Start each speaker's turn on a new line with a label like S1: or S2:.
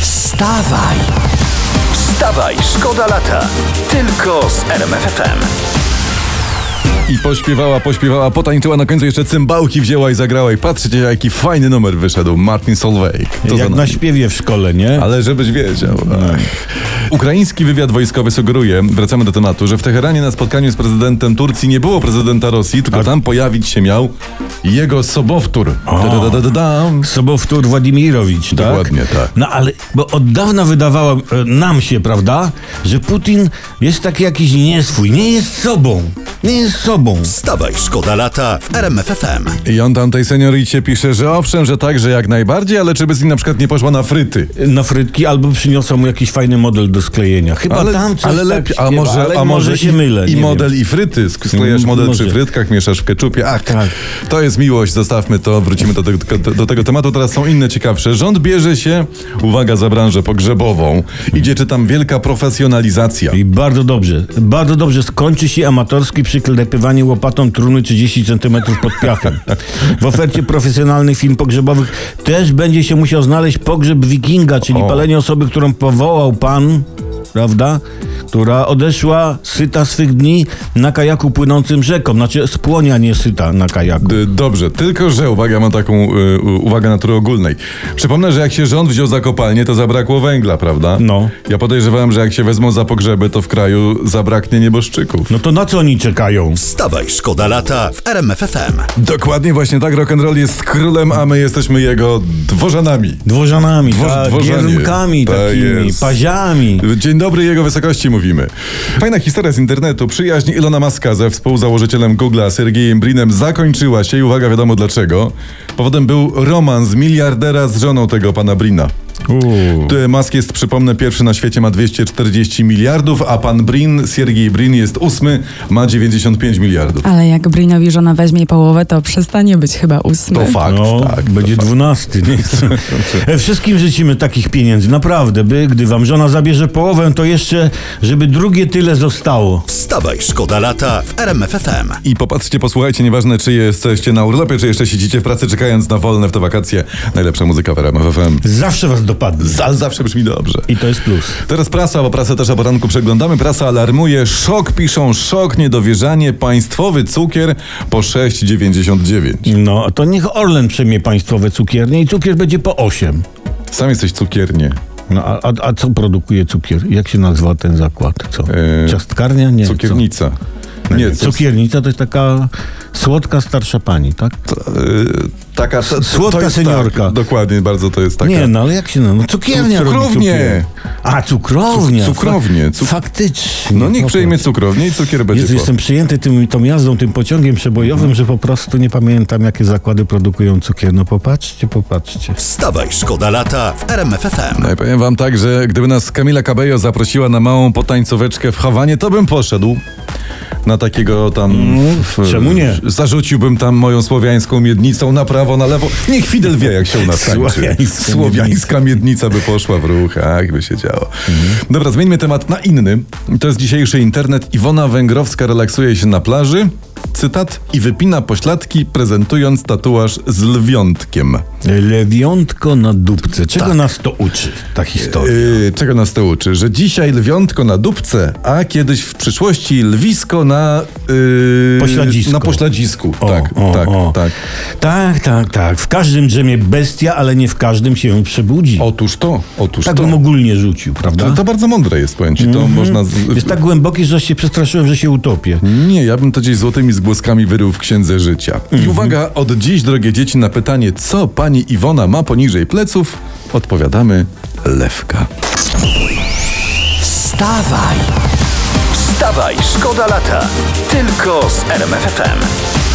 S1: Wstawaj! Wstawaj, szkoda lata! Tylko z RMFFM.
S2: I pośpiewała, pośpiewała, potańczyła, na końcu jeszcze cymbałki wzięła i zagrała. I patrzcie, jaki fajny numer wyszedł. Martin Solveig. To za
S3: Jak na No.
S2: nami.
S3: śpiewie w szkole, nie?
S2: Ale żebyś wiedział. Ach. Ukraiński wywiad wojskowy sugeruje, wracamy do tematu, że w Teheranie na spotkaniu z prezydentem Turcji nie było prezydenta Rosji,
S3: Tak.
S2: tylko tam pojawić się miał jego sobowtór. Da-da-da-da-dam.
S3: Sobowtór Władimirowicz, tak?
S2: Dokładnie tak.
S3: No ale, bo od dawna wydawało e, nam się, prawda, że Putin jest taki jakiś nieswój, nie jest sobą, nie jest sobą.
S1: Wstawaj, szkoda lata w RMFFM.
S2: I on tam tej senioricie pisze, że owszem, że tak, że jak najbardziej, ale czy by z nim na przykład nie poszła na fryty?
S3: Na frytki albo przyniosą mu jakiś fajny model do sklejenia. Chyba
S2: Ale,
S3: tam coś
S2: ale
S3: tak
S2: lepiej,
S3: śpiewa,
S2: a może,
S3: ale
S2: a może
S3: się
S2: i,
S3: mylę.
S2: I
S3: nie
S2: model
S3: wiem.
S2: i fryty. Sklejasz
S3: Mm,
S2: model przy
S3: może.
S2: frytkach, mieszasz w keczupie. Ach,
S3: Tak.
S2: to jest miłość, zostawmy to, wrócimy do, tego- do, do tego tematu. Teraz są inne ciekawsze. Rząd bierze się, uwaga, za branżę pogrzebową. Idzie, czy tam wielka profesjonalizacja.
S3: I bardzo dobrze, bardzo dobrze skończy się amatorskie przyklepywanie łopatą trumny 30 cm pod piachem. W ofercie profesjonalnych film pogrzebowych też będzie się musiał znaleźć pogrzeb wikinga, czyli
S2: O.
S3: palenie osoby, którą powołał pan, prawda? Która odeszła syta swych dni na kajaku płynącym rzeką. Znaczy spłonia nie syta na kajaku.
S2: D- Dobrze, tylko że uwaga, mam taką y, u- uwagę natury ogólnej. Przypomnę, że jak się rząd wziął za kopalnię, to zabrakło węgla, prawda?
S3: No.
S2: Ja podejrzewałem, że jak się wezmą za pogrzeby, to w kraju zabraknie nieboszczyków.
S3: No to na co oni czekają?
S1: Wstawaj, szkoda lata w RMFFM.
S2: Dokładnie właśnie tak, rock'n'roll jest królem, a my jesteśmy jego dworzanami.
S3: Dworzanami,
S2: Dwor-
S3: tak,
S2: dworzanie.
S3: gierunkami
S2: Tak
S3: takimi,
S2: jest.
S3: paziami.
S2: Dzień dobry, jego wysokości mówimy. Fajna historia z internetu. Przyjaźń Ilona Maska ze współzałożycielem Google'a Sergiejem Brinem zakończyła się i uwaga, wiadomo dlaczego. Powodem był romans miliardera z żoną tego pana Brina. Ty, Musk jest, przypomnę, pierwszy na świecie, ma 240 miliardów, a pan Brin, Siergiej Brin jest ósmy, ma 95 miliardów.
S4: Ale jak Brinowi żona weźmie połowę, to przestanie być chyba ósmy.
S2: To fakt,
S3: no,
S2: tak.
S3: będzie dwunasty. Nie? E, Wszystkim życzymy takich pieniędzy, naprawdę, by gdy wam żona zabierze połowę, to jeszcze, żeby drugie tyle zostało.
S1: Wstawaj, szkoda lata w RMFFM.
S2: I popatrzcie, posłuchajcie, nieważne czy jesteście na urlopie, czy jeszcze siedzicie w pracy czekając na wolne w te wakacje. Najlepsza muzyka w RMF FM.
S3: Zawsze was dopadnie.
S2: Zal zawsze brzmi dobrze.
S3: I to jest plus.
S2: Teraz prasa, bo prasę też o poranku przeglądamy. Prasa alarmuje, szok piszą, szok, niedowierzanie, państwowy cukier po 6,99.
S3: No, a to niech Orlen przejmie państwowe cukiernie i cukier będzie po 8.
S2: Sam jesteś cukiernie.
S3: No, a, a, a co produkuje cukier? Jak się nazywa ten zakład? Co?
S2: E,
S3: Ciastkarnia? Nie. co?
S2: Cukiernica. Nie, co,
S3: Cukiernica to jest taka słodka starsza pani, tak?
S2: y, taka... To,
S3: Słodka
S2: to jest
S3: seniorka.
S2: Tak, dokładnie, bardzo to jest taka...
S3: Nie, no ale jak się nazywa? No, cukiernia
S2: Cu-
S3: robi
S2: cukrownie.
S3: cukier. A, cukrownia.
S2: Cuk- cukrownie. Cuk-
S3: Faktycznie.
S2: No niech
S3: No
S2: przejmie cukrownię i cukier będzie
S3: Jezu,
S2: po.
S3: jestem przyjęty tym, tą jazdą, tym pociągiem przebojowym, że po prostu nie pamiętam, jakie zakłady produkują cukier. No popatrzcie, popatrzcie.
S1: Wstawaj, szkoda lata w RMFFM.
S2: No i powiem wam tak, że gdyby nas Kamila Cabello zaprosiła na małą potańcóweczkę w Hawanie, to bym poszedł. Na takiego tam. w-
S3: Mm, czemu nie?
S2: Zarzuciłbym tam moją słowiańską miednicą na prawo, na lewo. Niech Fidel wie, jak się u nas tańczy.
S3: Słowiańska
S2: Słowiańska miednica by poszła w ruch, tak by się działo.
S3: Mhm.
S2: Dobra, zmieńmy temat na inny. To jest dzisiejszy internet. Iwona Węgrowska relaksuje się na plaży. Cytat i wypina pośladki, prezentując tatuaż z lwiątkiem.
S3: Lewiątko na dupce. Czego
S2: Tak.
S3: nas to uczy, ta historia?
S2: Yy, czego nas to uczy? Że dzisiaj lwiątko na dupce, a kiedyś w przyszłości lwisko na... Yy,
S3: Pośladzisku.
S2: Na pośladzisku.
S3: O,
S2: tak,
S3: o,
S2: tak,
S3: o.
S2: tak.
S3: Tak, tak, tak. W każdym drzemie bestia, ale nie w każdym się przebudzi.
S2: Otóż to, otóż
S3: tak
S2: to.
S3: bym ogólnie rzucił,
S2: to.
S3: prawda?
S2: To bardzo mądre jest, powiem ci. To można... Z...
S3: Jest tak głęboki, że się przestraszyłem, że się utopię.
S2: Nie, ja bym to gdzieś złotymi zgłoskami wyrył w księdze życia.
S3: Mhm.
S2: I uwaga, od dziś, drogie dzieci, na pytanie, co pani Iwona ma poniżej pleców, odpowiadamy lewka.
S1: Wstawaj! Wstawaj, szkoda lata! Tylko z RMFFM.